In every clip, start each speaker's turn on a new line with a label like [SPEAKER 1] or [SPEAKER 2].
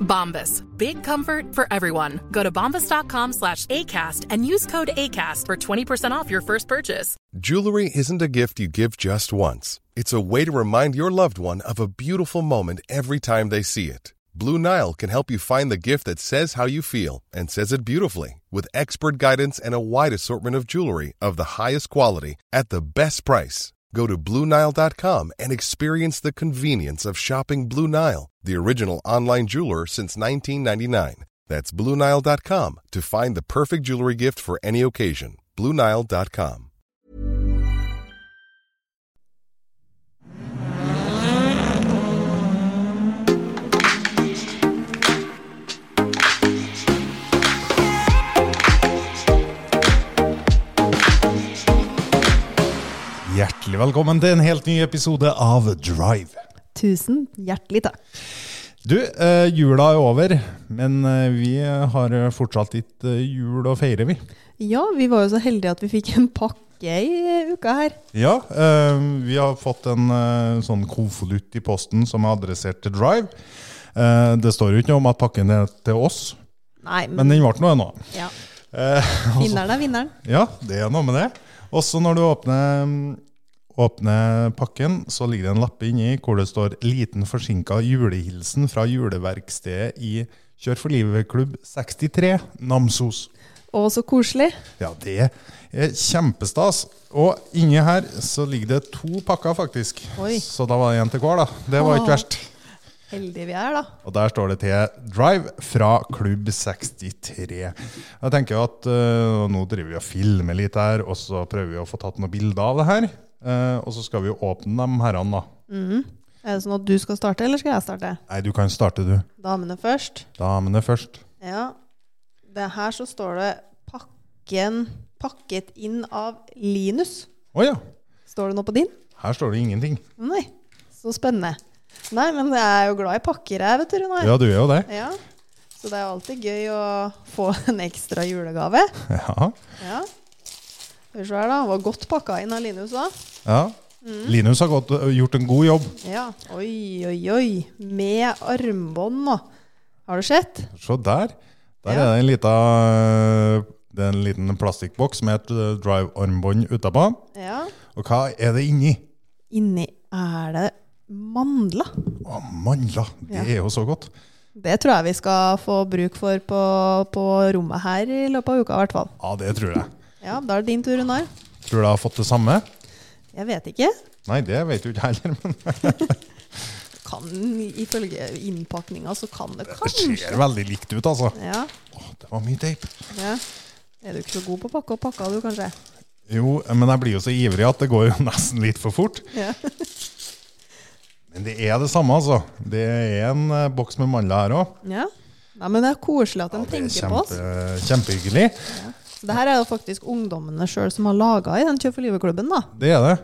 [SPEAKER 1] Bombas. Big comfort for everyone. Go to bombas.com slash ACAST and use code ACAST for 20% off your first purchase.
[SPEAKER 2] Jewelry isn't a gift you give just once. It's a way to remind your loved one of a beautiful moment every time they see it. Blue Nile can help you find the gift that says how you feel and says it beautifully with expert guidance and a wide assortment of jewelry of the highest quality at the best price. Go to BlueNile.com and experience the convenience of shopping Blue Nile, the original online jeweler since 1999. That's BlueNile.com to find the perfect jewelry gift for any occasion. BlueNile.com.
[SPEAKER 3] Hjertelig velkommen til en helt ny episode av Drive.
[SPEAKER 4] Tusen hjertelig takk.
[SPEAKER 3] Du, eh, jula er over, men eh, vi har fortsatt litt eh, jul å feire, vi.
[SPEAKER 4] Ja, vi var jo så heldige at vi fikk en pakke i uka her.
[SPEAKER 3] Ja, eh, vi har fått en eh, sånn konvolutt i posten som er adressert til Drive. Eh, det står jo ikke noe om at pakken er til oss,
[SPEAKER 4] Nei,
[SPEAKER 3] men den ble noe ennå.
[SPEAKER 4] ja.
[SPEAKER 3] Eh,
[SPEAKER 4] Vinneren er vinneren.
[SPEAKER 3] ja, det er noe med det. Også når du åpner, åpner pakken, så ligger det en lappe inni hvor det står 'Liten forsinka julehilsen fra juleverkstedet i Kjør for livet-klubb 63, Namsos'.
[SPEAKER 4] Å, så koselig.
[SPEAKER 3] Ja, det er kjempestas. Og inni her så ligger det to pakker, faktisk.
[SPEAKER 4] Oi.
[SPEAKER 3] Så da var det en til hver, da. Det var ikke
[SPEAKER 4] Åh.
[SPEAKER 3] verst.
[SPEAKER 4] Heldige vi er, da.
[SPEAKER 3] Og der står det til Drive fra Klubb 63. Jeg tenker at eh, nå driver vi og filmer litt her, og så prøver vi å få tatt noen bilder av det her. Eh, og så skal vi jo åpne de herrene, da.
[SPEAKER 4] Er det sånn at du skal starte, eller skal jeg starte?
[SPEAKER 3] Nei, du kan starte, du.
[SPEAKER 4] Damene først.
[SPEAKER 3] Damene først.
[SPEAKER 4] Ja. Det her så står det 'pakken pakket inn av Linus'.
[SPEAKER 3] Å ja.
[SPEAKER 4] Står det noe på din?
[SPEAKER 3] Her står det ingenting.
[SPEAKER 4] Nei. Så spennende. Nei, men jeg er jo glad i pakker, jeg, vet du, Runar.
[SPEAKER 3] Ja, du er jo det.
[SPEAKER 4] Ja. Så det er jo alltid gøy å få en ekstra julegave.
[SPEAKER 3] Ja.
[SPEAKER 4] Ja. Skal vi se her, da. Var godt pakka inn av Linus, da.
[SPEAKER 3] ja. Linus har gått, gjort en god jobb.
[SPEAKER 4] Ja. Oi, oi, oi. Med armbånd nå. Har du sett?
[SPEAKER 3] Se der. Der
[SPEAKER 4] Ja.
[SPEAKER 3] er det en lita eh, det er en liten plastikkboks med et eh, drive-armbånd utapå.
[SPEAKER 4] Ja.
[SPEAKER 3] Og hva er det inni?
[SPEAKER 4] Inni er det mandler.
[SPEAKER 3] Å, mandler! Det er
[SPEAKER 4] Ja.
[SPEAKER 3] jo så godt.
[SPEAKER 4] Det tror jeg vi skal få bruk for på, på rommet her i løpet av uka, i hvert fall.
[SPEAKER 3] Ja, det tror jeg.
[SPEAKER 4] Ja, da er det din tur, Runar.
[SPEAKER 3] Tror du jeg har fått det samme?
[SPEAKER 4] Jeg vet ikke.
[SPEAKER 3] Nei, det vet du ikke heller, men
[SPEAKER 4] Kan, ifølge innpakninga så kan det
[SPEAKER 3] det
[SPEAKER 4] kanskje
[SPEAKER 3] ser veldig likt ut, altså.
[SPEAKER 4] ja,
[SPEAKER 3] Å, det var mye teip.
[SPEAKER 4] ja. Er du ikke så god på å pakke opp pakka, du, kanskje?
[SPEAKER 3] Jo, men jeg blir jo så ivrig at det går jo nesten litt for fort.
[SPEAKER 4] Ja.
[SPEAKER 3] Men det er det samme, altså. Det er en eh, boks med mandler her òg.
[SPEAKER 4] Ja. Nei, men det er koselig at de
[SPEAKER 3] Det er
[SPEAKER 4] tenker på oss.
[SPEAKER 3] kjempe, kjempehyggelig.
[SPEAKER 4] Så det her er jo faktisk ungdommene sjøl som har laga i den Kjøp for livet-klubben, da.
[SPEAKER 3] Det er det.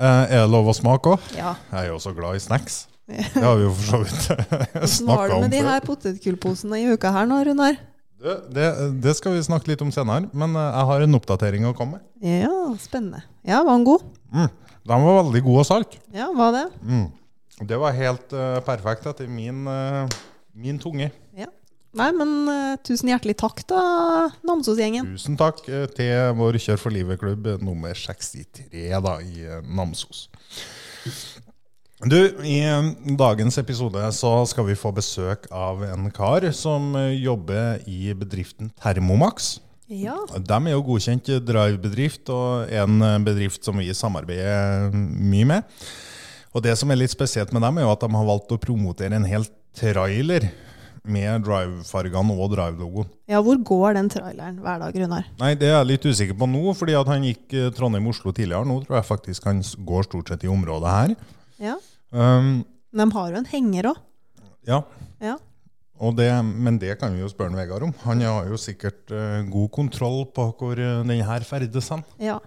[SPEAKER 3] Eh, er det lov å smake òg?
[SPEAKER 4] Ja.
[SPEAKER 3] Jeg er jo så glad i snacks. Det har vi jo for så vidt
[SPEAKER 4] Hvordan var
[SPEAKER 3] snakka
[SPEAKER 4] det
[SPEAKER 3] om
[SPEAKER 4] med de
[SPEAKER 3] før.
[SPEAKER 4] her potetgullposene i uka her nå, Runar?
[SPEAKER 3] Det, det, det skal vi snakke litt om senere, men eh, jeg har en oppdatering å komme med.
[SPEAKER 4] Ja, spennende. Ja, var han god?
[SPEAKER 3] Den var veldig god og salt.
[SPEAKER 4] Ja, var det?
[SPEAKER 3] Mm. Det var helt eh, perfekt etter min, eh, min tunge.
[SPEAKER 4] Ja. Nei, men eh, tusen hjertelig takk, da, Namsos-gjengen.
[SPEAKER 3] Tusen takk eh, til vår Kjør for livet-klubb eh, nummer 63 da, i eh, Namsos. Du, I eh, dagens episode så skal vi få besøk av en kar som eh, jobber i bedriften Thermomax.
[SPEAKER 4] Ja.
[SPEAKER 3] De er jo godkjent drive-bedrift og en eh, bedrift som vi samarbeider eh, mye med. Og det som er litt spesielt med dem, er jo at de har valgt å promotere en hel trailer med drive-fargene og drive-logoen.
[SPEAKER 4] ja, hvor går den traileren hver dag, Runar?
[SPEAKER 3] Nei, det er jeg litt usikker på nå, fordi at han gikk eh, Trondheim-Oslo tidligere. Nå tror jeg faktisk han s- går stort sett i området her.
[SPEAKER 4] Ja.
[SPEAKER 3] Um,
[SPEAKER 4] De har jo en henger òg.
[SPEAKER 3] ja,
[SPEAKER 4] Ja.
[SPEAKER 3] og det, men det kan vi jo spørre Vegard om. Han har jo sikkert eh, god kontroll på hvor eh, den her ferdes hen.
[SPEAKER 4] Ja.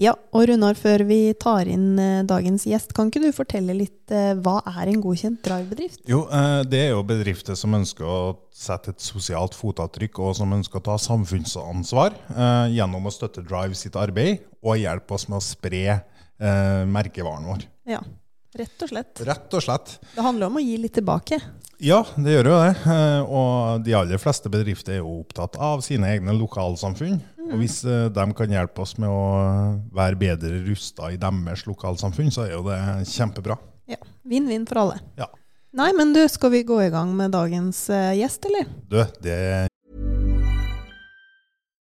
[SPEAKER 4] ja. Og Runar, før vi tar inn eh, dagens gjest, kan ikke du fortelle litt eh, hva er en godkjent drivebedrift?
[SPEAKER 3] Jo, eh, det er jo bedrifter som ønsker å sette et sosialt fotavtrykk, og som ønsker å ta samfunnsansvar eh, gjennom å støtte Drive sitt arbeid, og hjelpe oss med å spre eh, merkevaren vår.
[SPEAKER 4] Ja, rett og slett.
[SPEAKER 3] Rett og slett.
[SPEAKER 4] Det handler om å gi litt tilbake.
[SPEAKER 3] Ja, det gjør jo det. Eh, Og de aller fleste bedrifter er jo opptatt av sine egne lokalsamfunn. Og hvis eh, de kan hjelpe oss med å være bedre rusta i deres lokalsamfunn, så er jo det kjempebra.
[SPEAKER 4] Ja, Vinn-vinn for alle.
[SPEAKER 3] Ja.
[SPEAKER 4] Nei, men du, skal vi gå i gang med dagens eh, gjest, eller?
[SPEAKER 3] Du, det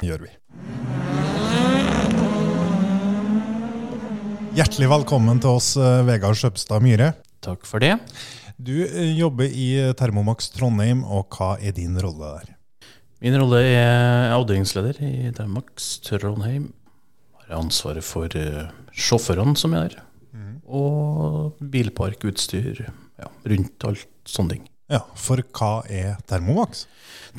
[SPEAKER 3] gjør vi. Hjertelig velkommen til oss, eh, Vegard Sjøpstad Myhre.
[SPEAKER 5] Takk for det.
[SPEAKER 3] Du eh, jobber i Termomax Trondheim, og hva er din rolle der?
[SPEAKER 5] Min rolle er avdelingsleder i Dermax Trondheim. Har ansvaret for eh, sjåførene som er der, og bilpark, utstyr, ja, rundt alt sånne ting.
[SPEAKER 3] Ja, For hva er Termomax?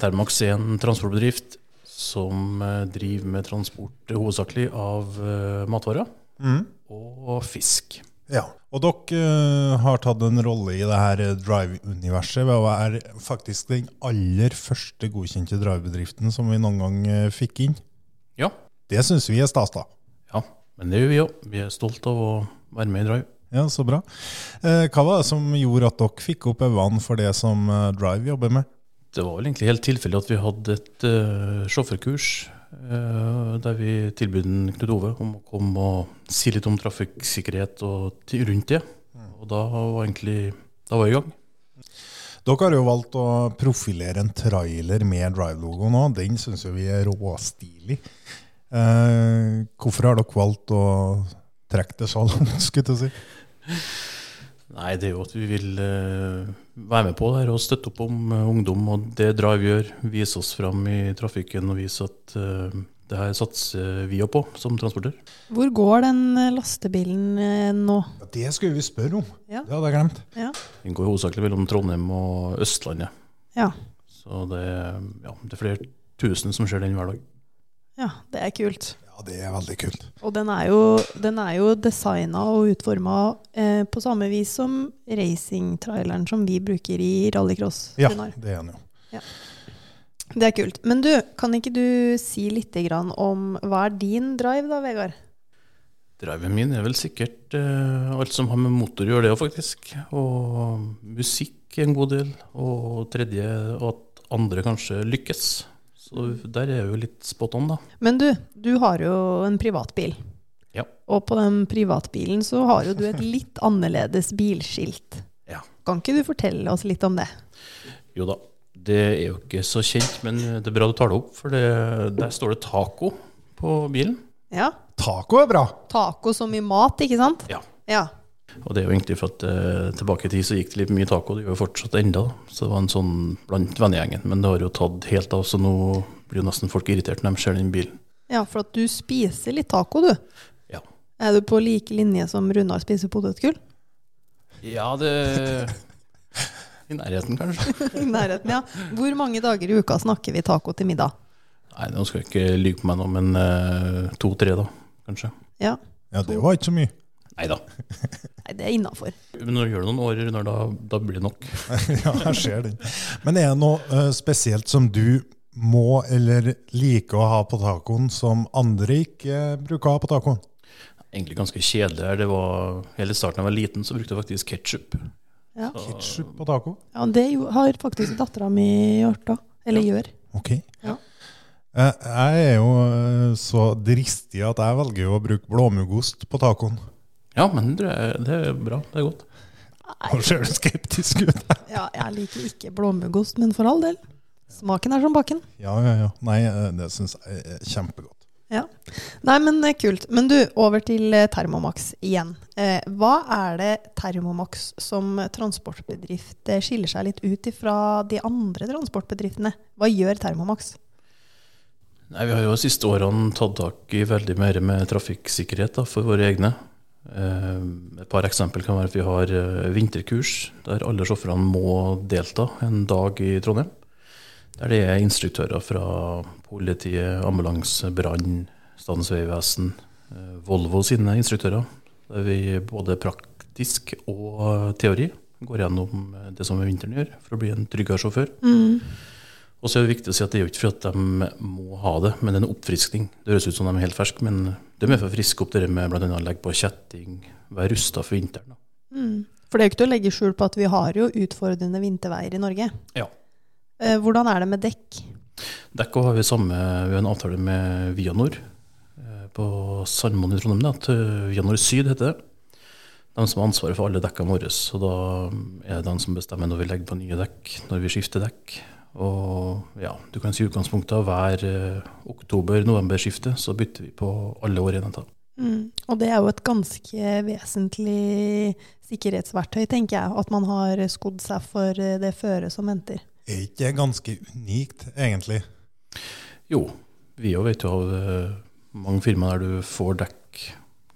[SPEAKER 5] Termax er en transportbedrift som eh, driver med transport eh, hovedsakelig av eh, matvarer og fisk.
[SPEAKER 3] Ja, Og dere eh, har tatt en rolle i det her eh, drive-universet ved å være faktisk den aller første godkjente drive-bedriften som vi noen gang eh, fikk inn.
[SPEAKER 5] Ja,
[SPEAKER 3] Det syns vi er stas, da.
[SPEAKER 5] ja, men det gjør vi òg. Vi er stolt av å være med i Drive.
[SPEAKER 3] Ja, så bra. Eh, Hva var det som gjorde at dere fikk opp øynene for det som eh, Drive jobber med?
[SPEAKER 5] Det var vel egentlig helt tilfeldig at vi hadde et eh, sjåførkurs eh, der vi tilbød en Knut Ove om å komme og si litt om trafikksikkerhet og til, rundt det. Og da var egentlig da var jeg i gang.
[SPEAKER 3] Dere har jo valgt å profilere en trailer med Drive-logo nå. Den syns jo vi er råstilig. Eh, Hvorfor har dere valgt å trekke det så langt, skulle jeg til å si?
[SPEAKER 5] Nei, det er jo at vi vil eh, være med på det her og støtte opp om eh, ungdom og det Drive gjør. Vise oss fram i trafikken og vise at eh, det her satser vi jo på som transportør.
[SPEAKER 4] Hvor går den eh, lastebilen eh, nå?
[SPEAKER 3] Ja, Det skulle vi spørre om.
[SPEAKER 4] Ja.
[SPEAKER 3] Det hadde jeg glemt.
[SPEAKER 4] Ja.
[SPEAKER 5] Den går hovedsakelig mellom Trondheim og Østlandet.
[SPEAKER 4] Ja.
[SPEAKER 5] Så det, er- ja, det er flere tusen som ser den hver dag.
[SPEAKER 4] ja, det er kult.
[SPEAKER 3] Ja, det er veldig kult.
[SPEAKER 4] Og den er jo, den er jo designa og utforma eh, på samme vis som racingtraileren som vi bruker i rallycross.
[SPEAKER 3] Ja,
[SPEAKER 4] Runar.
[SPEAKER 3] det er han jo.
[SPEAKER 4] Det er kult. Men du, kan ikke du si litt grann om hva er din drive da, Vegard?
[SPEAKER 5] Driven min er vel sikkert eh, alt som har med motor å gjøre, det òg, faktisk. Og musikk en god del. Og tredje at andre kanskje lykkes. Så der er jeg jo litt spot on, da.
[SPEAKER 4] Men du, du har jo en privatbil.
[SPEAKER 5] Ja.
[SPEAKER 4] Og på den privatbilen så har jo du et litt annerledes bilskilt.
[SPEAKER 5] Ja.
[SPEAKER 4] Kan ikke du fortelle oss litt om det?
[SPEAKER 5] Jo da. Det er jo ikke så kjent, men det er bra du tar det opp, for det, der står det taco på bilen.
[SPEAKER 4] Ja.
[SPEAKER 3] Taco er bra.
[SPEAKER 4] Taco som i mat, ikke sant?
[SPEAKER 5] Ja.
[SPEAKER 4] Ja.
[SPEAKER 5] Og det er jo egentlig for at eh, tilbake i tid så gikk det litt mye taco, det gjør jo fortsatt enda. da. Så det var en sånn blant vennegjengen. Men det har jo tatt helt av, så nå blir jo nesten folk irritert når de ser den bilen.
[SPEAKER 4] Ja, for at du spiser litt taco, du.
[SPEAKER 5] Ja.
[SPEAKER 4] Er du på like linje som Runar spiser potetgull?
[SPEAKER 5] Ja, det I nærheten, kanskje.
[SPEAKER 4] I nærheten, ja. Hvor mange dager i uka snakker vi taco til middag?
[SPEAKER 5] Nei, nå skal jeg ikke lyve på meg nå, men eh, to-tre, da, kanskje.
[SPEAKER 4] Ja,
[SPEAKER 3] Ja, det var ikke så mye.
[SPEAKER 5] Nei da.
[SPEAKER 4] Nei, det er innafor.
[SPEAKER 5] Men når du gjør det noen år, Runar, da, da blir det nok.
[SPEAKER 3] ja, jeg ser den. Men er det noe eh, spesielt som du må eller liker å ha på tacoen, som andre ikke eh, bruker å ha på tacoen?
[SPEAKER 5] Egentlig ganske kjedelig her. Det var, hele starten da jeg var liten, så brukte jeg faktisk ketsjup.
[SPEAKER 4] Ja.
[SPEAKER 3] Ketchup på taco?
[SPEAKER 4] Ja, det jo- har faktisk dattera mi gjort da. Eller gjør.
[SPEAKER 3] Ok.
[SPEAKER 4] Ja.
[SPEAKER 3] Eh, Jeg er jo eh, så dristig at jeg velger jo å bruke blåmuggost på tacoen.
[SPEAKER 5] Ja, men det er, det er bra. Det er godt.
[SPEAKER 3] Nå ser du skeptisk ut.
[SPEAKER 4] Ja, jeg liker ikke blåmuggost, men for all del. Smaken er som baken.
[SPEAKER 3] ja, ja, ja. Nei, eh, det syns jeg er kjempegodt.
[SPEAKER 4] Ja. Nei, men eh, kult. Men du, over til eh, Thermomax igjen. Eh, hva er det Thermomax som transportbedrift eh, skiller seg litt ut ifra de andre transportbedriftene? Hva gjør Thermomax?
[SPEAKER 5] Nei, Vi har jo de siste årene tatt tak i veldig mer med trafikksikkerhet da, for våre egne. Eh, Et par eksempel kan være at vi har eh, vinterkurs der alle sjåførene må delta en dag i Trondheim. Der det er instruktører fra politiet, ambulanse, brann, Statens vegvesen, eh, Volvo sine instruktører. Der vi både praktisk og eh, teori går gjennom eh, det som vinteren gjør, for å bli en tryggere sjåfør. Og så er det viktig å si at det er jo ikke for at de må ha det, men det er en oppfriskning. Det høres ut som de er helt ferske, men de er for å friske opp det med bl.a. legge på kjetting, være rusta for vinteren. Da.
[SPEAKER 4] For det er jo ikke til å legge skjul på at vi har jo utfordrende vinterveier i Norge.
[SPEAKER 5] Ja.
[SPEAKER 4] Eh, hvordan er det med dekk?
[SPEAKER 5] Dekka har vi samme, vi har en avtale med Vianor eh, på Sandmoen i Trondheim. Da, til Vianor Syd heter det. De som har ansvaret for alle dekkene våre. Så da mm, er det de som bestemmer når vi legger på nye dekk, når vi skifter dekk. Og ja, du kan si i utgangspunktet av hver eh, oktober-november-skifte så bytter vi på alle årene.
[SPEAKER 4] Mm. Og det er jo et ganske vesentlig sikkerhetsverktøy, tenker jeg. At man har skodd seg for eh, det føret som venter.
[SPEAKER 3] Er ikke det ganske unikt, egentlig?
[SPEAKER 5] Jo, vi jo vet jo av eh, mange firmaer der du får dekk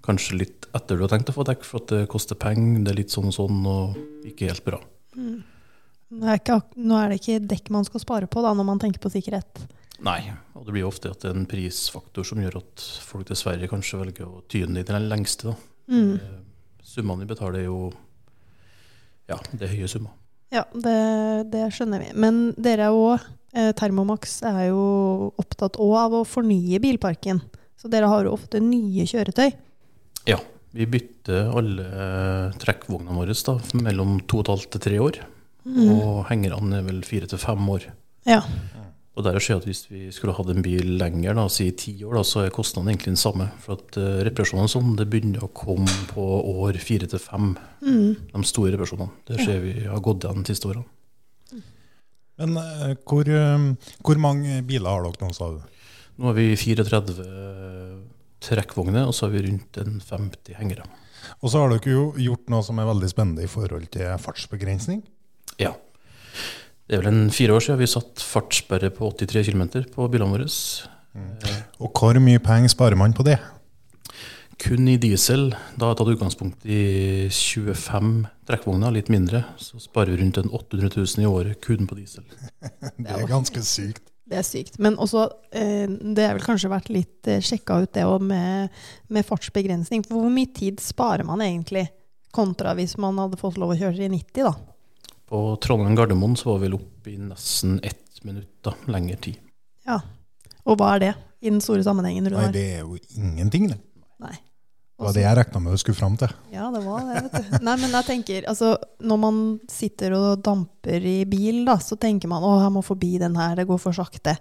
[SPEAKER 5] kanskje litt etter du har tenkt å få dekk, for at det koster penger, det er litt sånn og sånn, og ikke helt bra.
[SPEAKER 4] Nå er, ikke, ak- nå er det ikke dekk man skal spare på da, når man tenker på sikkerhet.
[SPEAKER 5] Nei, og det blir jo ofte at det er en prisfaktor som gjør at folk dessverre kanskje velger å tyne litt til den lengste. Da.
[SPEAKER 4] Mm.
[SPEAKER 5] Eh, Summene vi betaler er jo Ja, det er høye summer.
[SPEAKER 4] Ja, det, det skjønner vi. Men dere er jo òg eh, Thermomax er jo opptatt òg av å fornye bilparken. Så dere har jo ofte nye kjøretøy.
[SPEAKER 5] Ja, vi bytter alle eh, trekkvognene våre da, mellom to og et halvt til tre år. Og hengerne er vel fire til fem år.
[SPEAKER 4] Ja.
[SPEAKER 5] Og der skjer at Hvis vi skulle hatt en bil lenger, da, si ti år, da, så er kostnaden egentlig den samme. For at eh, reparasjonene og sånn, det begynner å komme på år fire til fem. De store reparasjonene. Det ser vi har gått igjen de siste årene.
[SPEAKER 3] Men eh, hvor, eh, hvor mange biler har dere nå, sa du?
[SPEAKER 5] Nå har vi 34 Eh, trekkvogner, og så har vi rundt en 50 hengere.
[SPEAKER 3] Og så har dere jo gjort noe som er veldig spennende i forhold til fartsbegrensning.
[SPEAKER 5] Ja. Det er vel en fire år siden vi satt fartssperre på 83 km på bilene våre.
[SPEAKER 3] Og hvor mye penger sparer man på det?
[SPEAKER 5] Kun i diesel. Da har jeg tatt utgangspunkt i 25 trekkvogner, litt mindre. Så sparer vi rundt en 800 000 i året kun på diesel.
[SPEAKER 3] Det er ganske sykt.
[SPEAKER 4] Det er sykt. Men også, eh, det er vel kanskje vært litt eh, sjekka ut det òg med, med fartsbegrensning. For hvor mye tid sparer man egentlig, kontra hvis man hadde fått lov å kjøre i 90, da?
[SPEAKER 5] På Trondheim-Gardermoen så var vi vel oppe i nesten ett minutt da, lengre tid.
[SPEAKER 4] Ja. Og hva er det i den store sammenhengen,
[SPEAKER 3] Nei,
[SPEAKER 4] Runar?
[SPEAKER 3] det er jo ingenting, det.
[SPEAKER 4] Nei.
[SPEAKER 3] Det var det jeg regna med du skulle fram til.
[SPEAKER 4] Ja, det var det. Vet du. Nei, men jeg tenker, altså, når man sitter og damper i bil, da, så tenker man å, jeg må forbi den her, det går for sakte.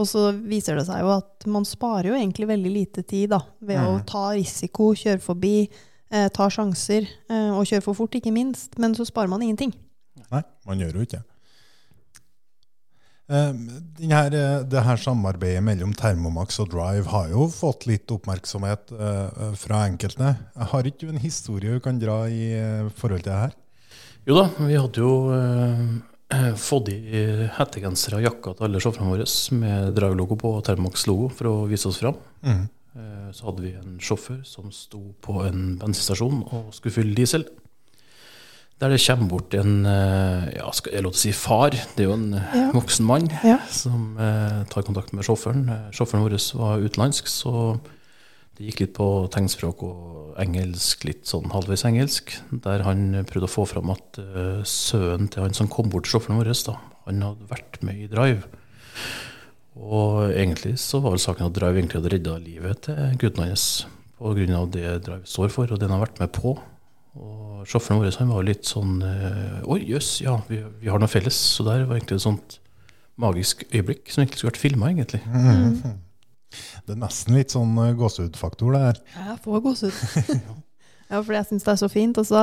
[SPEAKER 4] Og så viser det seg jo at man sparer jo egentlig veldig lite tid da, ved å ta risiko, kjøre forbi, eh, ta sjanser, eh, og kjøre for fort, ikke minst. Men så sparer man ingenting.
[SPEAKER 3] Nei, man gjør jo ikke det. Eh, Den her, eh, det her samarbeidet mellom Thermomax og Drive har jo fått litt oppmerksomhet eh, fra enkelte. Har ikke du en historie du kan dra i eh, forhold til det her?
[SPEAKER 5] Jo da, vi hadde jo eh, fått i hettegensere og jakker til alle sjåførene våre med Drive-logo på og Thermax-logo for å vise oss fram. Eh, så hadde vi en sjåfør som sto på en bensinstasjon og skulle fylle diesel. Der det kommer bort en eh, ja, skal jeg lov til å si far, det er jo en eh,
[SPEAKER 4] Ja.
[SPEAKER 5] voksen mann,
[SPEAKER 4] Ja.
[SPEAKER 5] som eh, tar kontakt med sjåføren. Eh, Sjåføren vår var utenlandsk, så det gikk litt på tegnspråk og engelsk, litt sånn halvveis engelsk, der han prøvde å få fram at eh, sønnen til han som kom bort til sjåføren vår, da, han hadde vært med i Drive. Og egentlig så var vel saken at Drive egentlig hadde redda livet til gutten hans pga. det Drive står for, og det han har vært med på. Og sjåføren vår han var litt sånn eh, Oi, jøss, ja, vi, vi har noe felles. Så der var egentlig et sånt magisk øyeblikk som egentlig skulle vært filma, egentlig.
[SPEAKER 3] Det er nesten litt sånn eh, gåsehudfaktor, det her.
[SPEAKER 4] Jeg får gåsehud. ja, for jeg syns det er så fint. Og så,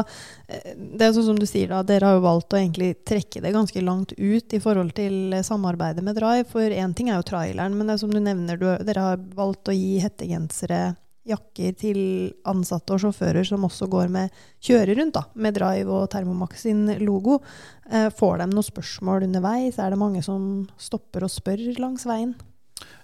[SPEAKER 4] eh, det er jo sånn som du sier, da, dere har jo valgt å egentlig trekke det ganske langt ut i forhold til eh, samarbeidet med Drive. For én ting er jo traileren, men det er som du nevner, du, dere har valgt å gi hettegensere, jakker til ansatte og sjåfører som også går med kjører rundt da, med Drive og Thermomax sin logo. Eh, Får de noen spørsmål underveis? Er det mange som stopper og spør langs veien?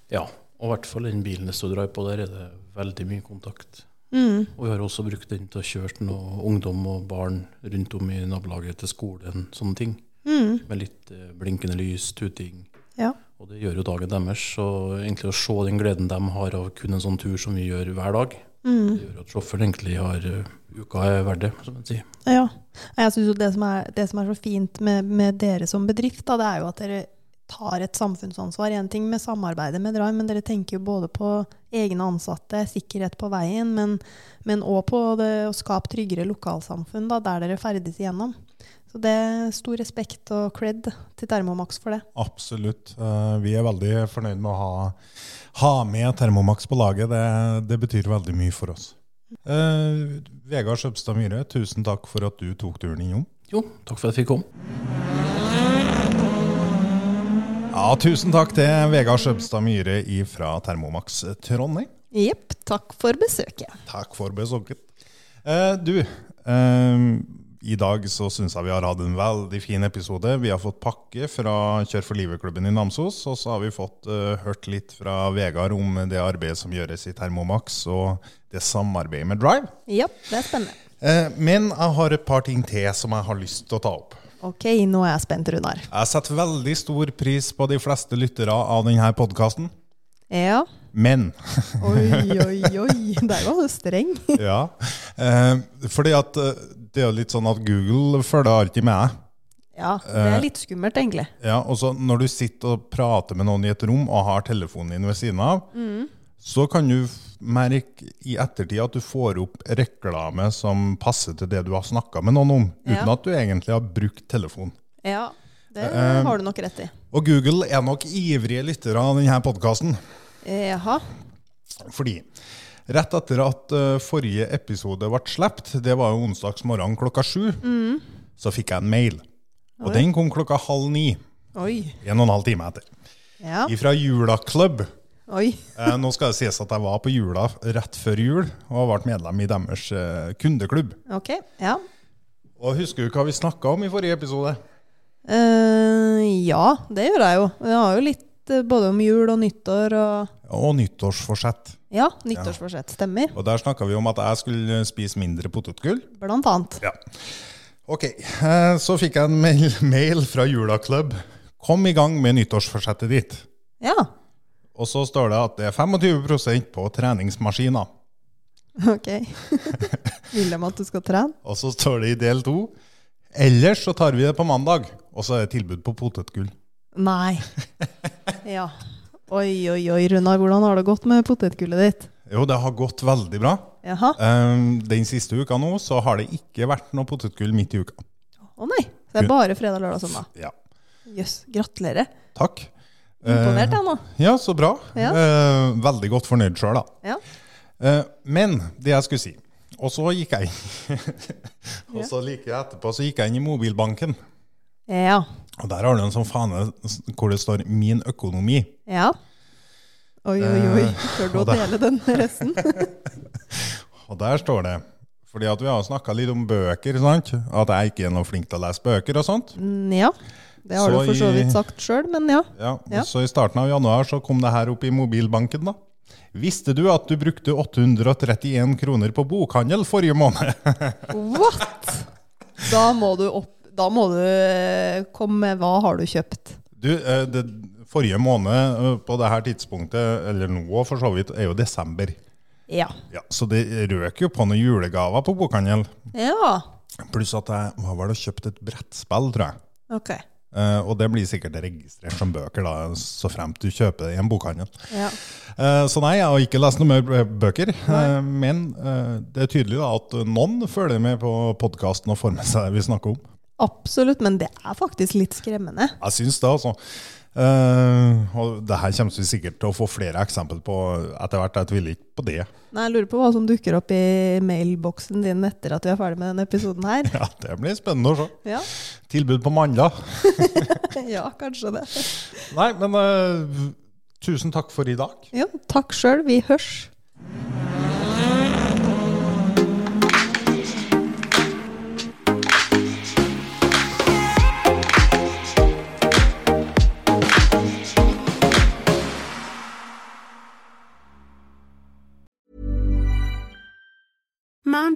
[SPEAKER 5] Ja, og i hvert fall den bilen det står drive på, der er det veldig mye kontakt.
[SPEAKER 4] Mm.
[SPEAKER 5] Og vi har også brukt den til å kjøre noe ungdom og barn rundt om i nabolaget til skolen, sånne ting.
[SPEAKER 4] Mm.
[SPEAKER 5] Med litt eh, blinkende lys, tuting.
[SPEAKER 4] Ja.
[SPEAKER 5] Og det gjør jo dagen deres. Så egentlig å se den gleden de har av kun en sånn tur som vi gjør hver dag,
[SPEAKER 4] Mm.
[SPEAKER 5] det gjør at sjåføren egentlig har eh, uka er verdt det, som man sier.
[SPEAKER 4] Ja. Nei, Jeg synes jo det som er, det som er så fint med, med dere som bedrift, da, det er jo at dere tar et samfunnsansvar. Én ting med samarbeidet med Drive, men dere tenker jo både på egne ansatte, sikkerhet på veien, men, men også på det å skape tryggere lokalsamfunn da, der dere ferdes igjennom. Så det er stor respekt og cred til Thermomax for det.
[SPEAKER 3] Absolutt. Eh, Vi er veldig fornøyd med å ha, ha med Thermomax på laget. Det, det betyr veldig mye for oss. Eh, Vegard Skjøbstad Myhre, tusen takk for at du tok turen innom.
[SPEAKER 5] Jo, takk for at jeg fikk komme.
[SPEAKER 3] Ja, tusen takk til Vegard Skjøbstad Myhre fra Thermomax Trondheim.
[SPEAKER 4] Jepp. Takk for besøket.
[SPEAKER 3] Takk for besøket. Eh, du, eh, i dag så syns jeg vi har hatt en veldig fin episode. Vi har fått pakke fra Kjør for livet-klubben i Namsos, og så har vi fått eh, hørt litt fra Vegard om det arbeidet som gjøres i Thermomax, og det samarbeidet med Drive.
[SPEAKER 4] Jepp, det er spennende.
[SPEAKER 3] Eh, men jeg har et par ting til som jeg har lyst til å ta opp.
[SPEAKER 4] Ok, nå er jeg spent, Runar.
[SPEAKER 3] Jeg setter veldig stor pris på de fleste lyttere av denne podkasten,
[SPEAKER 4] Ja.
[SPEAKER 3] men
[SPEAKER 4] Oi, oi, oi. Der var du streng.
[SPEAKER 3] Ja, eh, fordi at eh, det er jo litt sånn at Google følger alltid med deg.
[SPEAKER 4] Ja, det er litt skummelt, egentlig.
[SPEAKER 3] Ja, og så når du sitter og prater med noen i et rom og har telefonen din ved siden av, så kan du f- merke i ettertid at du får opp reklame som passer til det du har snakka med noen om, uten
[SPEAKER 4] Ja.
[SPEAKER 3] at du egentlig har brukt telefon.
[SPEAKER 4] Ja, det
[SPEAKER 3] Eh,
[SPEAKER 4] har du nok rett i.
[SPEAKER 3] Og Google er nok ivrige lyttere av denne podkasten,
[SPEAKER 4] Jaha.
[SPEAKER 3] fordi rett etter at eh, forrige episode ble sluppet, det var jo onsdags morgen klokka sju,
[SPEAKER 4] Mm.
[SPEAKER 3] så fikk jeg en mail. Og den kom klokka halv ni,
[SPEAKER 4] Oi.
[SPEAKER 3] en og en halv time etter,
[SPEAKER 4] Ja.
[SPEAKER 3] ifra Jula Club.
[SPEAKER 4] Oi.
[SPEAKER 3] Eh, nå skal det sies at jeg var på jula rett før jul og har vært medlem i deres eh, kundeklubb.
[SPEAKER 4] Ok. Ja.
[SPEAKER 3] Og Husker du hva vi snakka om i forrige episode?
[SPEAKER 4] Eh, ja, det gjør jeg jo. Jeg har jo litt eh, både om jul og nyttår og
[SPEAKER 3] Og nyttårsforsett.
[SPEAKER 4] Ja, nyttårsforsett. Stemmer.
[SPEAKER 3] Og Der snakka vi om at jeg skulle spise mindre potetgull.
[SPEAKER 4] Blant annet.
[SPEAKER 3] Ja. Ok, eh, så fikk jeg en mail, mail fra Jula Club. Kom i gang med nyttårsforsettet ditt.
[SPEAKER 4] Ja.
[SPEAKER 3] Og så står det at det er 25 på treningsmaskiner.
[SPEAKER 4] Ok. Vil de at du skal trene?
[SPEAKER 3] Og så står det i del to Ellers så tar vi det på mandag. Og så er det tilbud på potetgull.
[SPEAKER 4] Nei. Ja. Oi, oi, oi, Runar. Hvordan har det gått med potetgullet ditt?
[SPEAKER 3] Jo, det har gått veldig bra.
[SPEAKER 4] Jaha.
[SPEAKER 3] Um, den siste uka nå så har det ikke vært noe potetgull midt i uka.
[SPEAKER 4] Å nei. Så det er bare fredag, lørdag, søndag.
[SPEAKER 3] Ja.
[SPEAKER 4] Jøss. Gratulerer.
[SPEAKER 3] Takk.
[SPEAKER 4] Imponert, jeg nå.
[SPEAKER 3] Ja, så bra.
[SPEAKER 4] Ja.
[SPEAKER 3] Eh, veldig godt fornøyd sjøl, da.
[SPEAKER 4] Ja.
[SPEAKER 3] Eh, men det jeg skulle si Og så gikk jeg inn Og så like etterpå så gikk jeg inn i mobilbanken.
[SPEAKER 4] Ja.
[SPEAKER 3] Og der har du en sånn fane s- hvor det står 'Min økonomi'.
[SPEAKER 4] ja. Oi, oi, oi.
[SPEAKER 3] Eh,
[SPEAKER 4] Tør du å
[SPEAKER 3] og det-
[SPEAKER 4] dele den med resten?
[SPEAKER 3] Og der står det Fordi at vi har snakka litt om bøker, sant? At jeg ikke er noe flink til å lese bøker og sånt.
[SPEAKER 4] Mm, Ja. Det har
[SPEAKER 3] Så
[SPEAKER 4] du for så
[SPEAKER 3] i-
[SPEAKER 4] vidt sagt sjøl, men ja.
[SPEAKER 3] Ja,
[SPEAKER 4] Ja.
[SPEAKER 3] Så i starten av januar så kom det her opp i mobilbanken, da. Visste du at du brukte 831 kroner på bokhandel forrige måned?
[SPEAKER 4] What?! Da må du opp Da må du eh, komme med hva har du kjøpt.
[SPEAKER 3] Du, eh, det, forrige måned eh, på det her tidspunktet, eller nå for så vidt, er jo desember.
[SPEAKER 4] Ja.
[SPEAKER 3] Ja, så det røk jo på noen julegaver på bokhandel.
[SPEAKER 4] Ja.
[SPEAKER 3] Pluss at jeg var vel og kjøpte et brettspill, tror jeg.
[SPEAKER 4] Ok.
[SPEAKER 3] Eh, og det blir sikkert registrert som bøker, da, så fremt du kjøper det i en bokhandel.
[SPEAKER 4] Ja.
[SPEAKER 3] Eh, så nei, jeg har ikke lest noen mer bø- bøker. eh, men eh, det er tydelig da, at noen følger med på podkasten og får med seg det vi snakker om.
[SPEAKER 4] Absolutt, men det er faktisk litt skremmende.
[SPEAKER 3] Jeg syns det, altså. Eh, og det her kommer vi sikkert til å få flere eksempler på etter hvert. Jeg tviler ikke på det.
[SPEAKER 4] Nei, Jeg lurer på hva som dukker opp i mailboksen din etter at vi er ferdig med denne episoden her.
[SPEAKER 3] Ja, Det blir spennende å se.
[SPEAKER 4] Ja,
[SPEAKER 3] Tilbud på mandag.
[SPEAKER 4] ja kanskje det.
[SPEAKER 3] Nei, men eh, tusen takk for i dag.
[SPEAKER 4] Jo, takk sjøl. Vi hørs.
[SPEAKER 6] Mom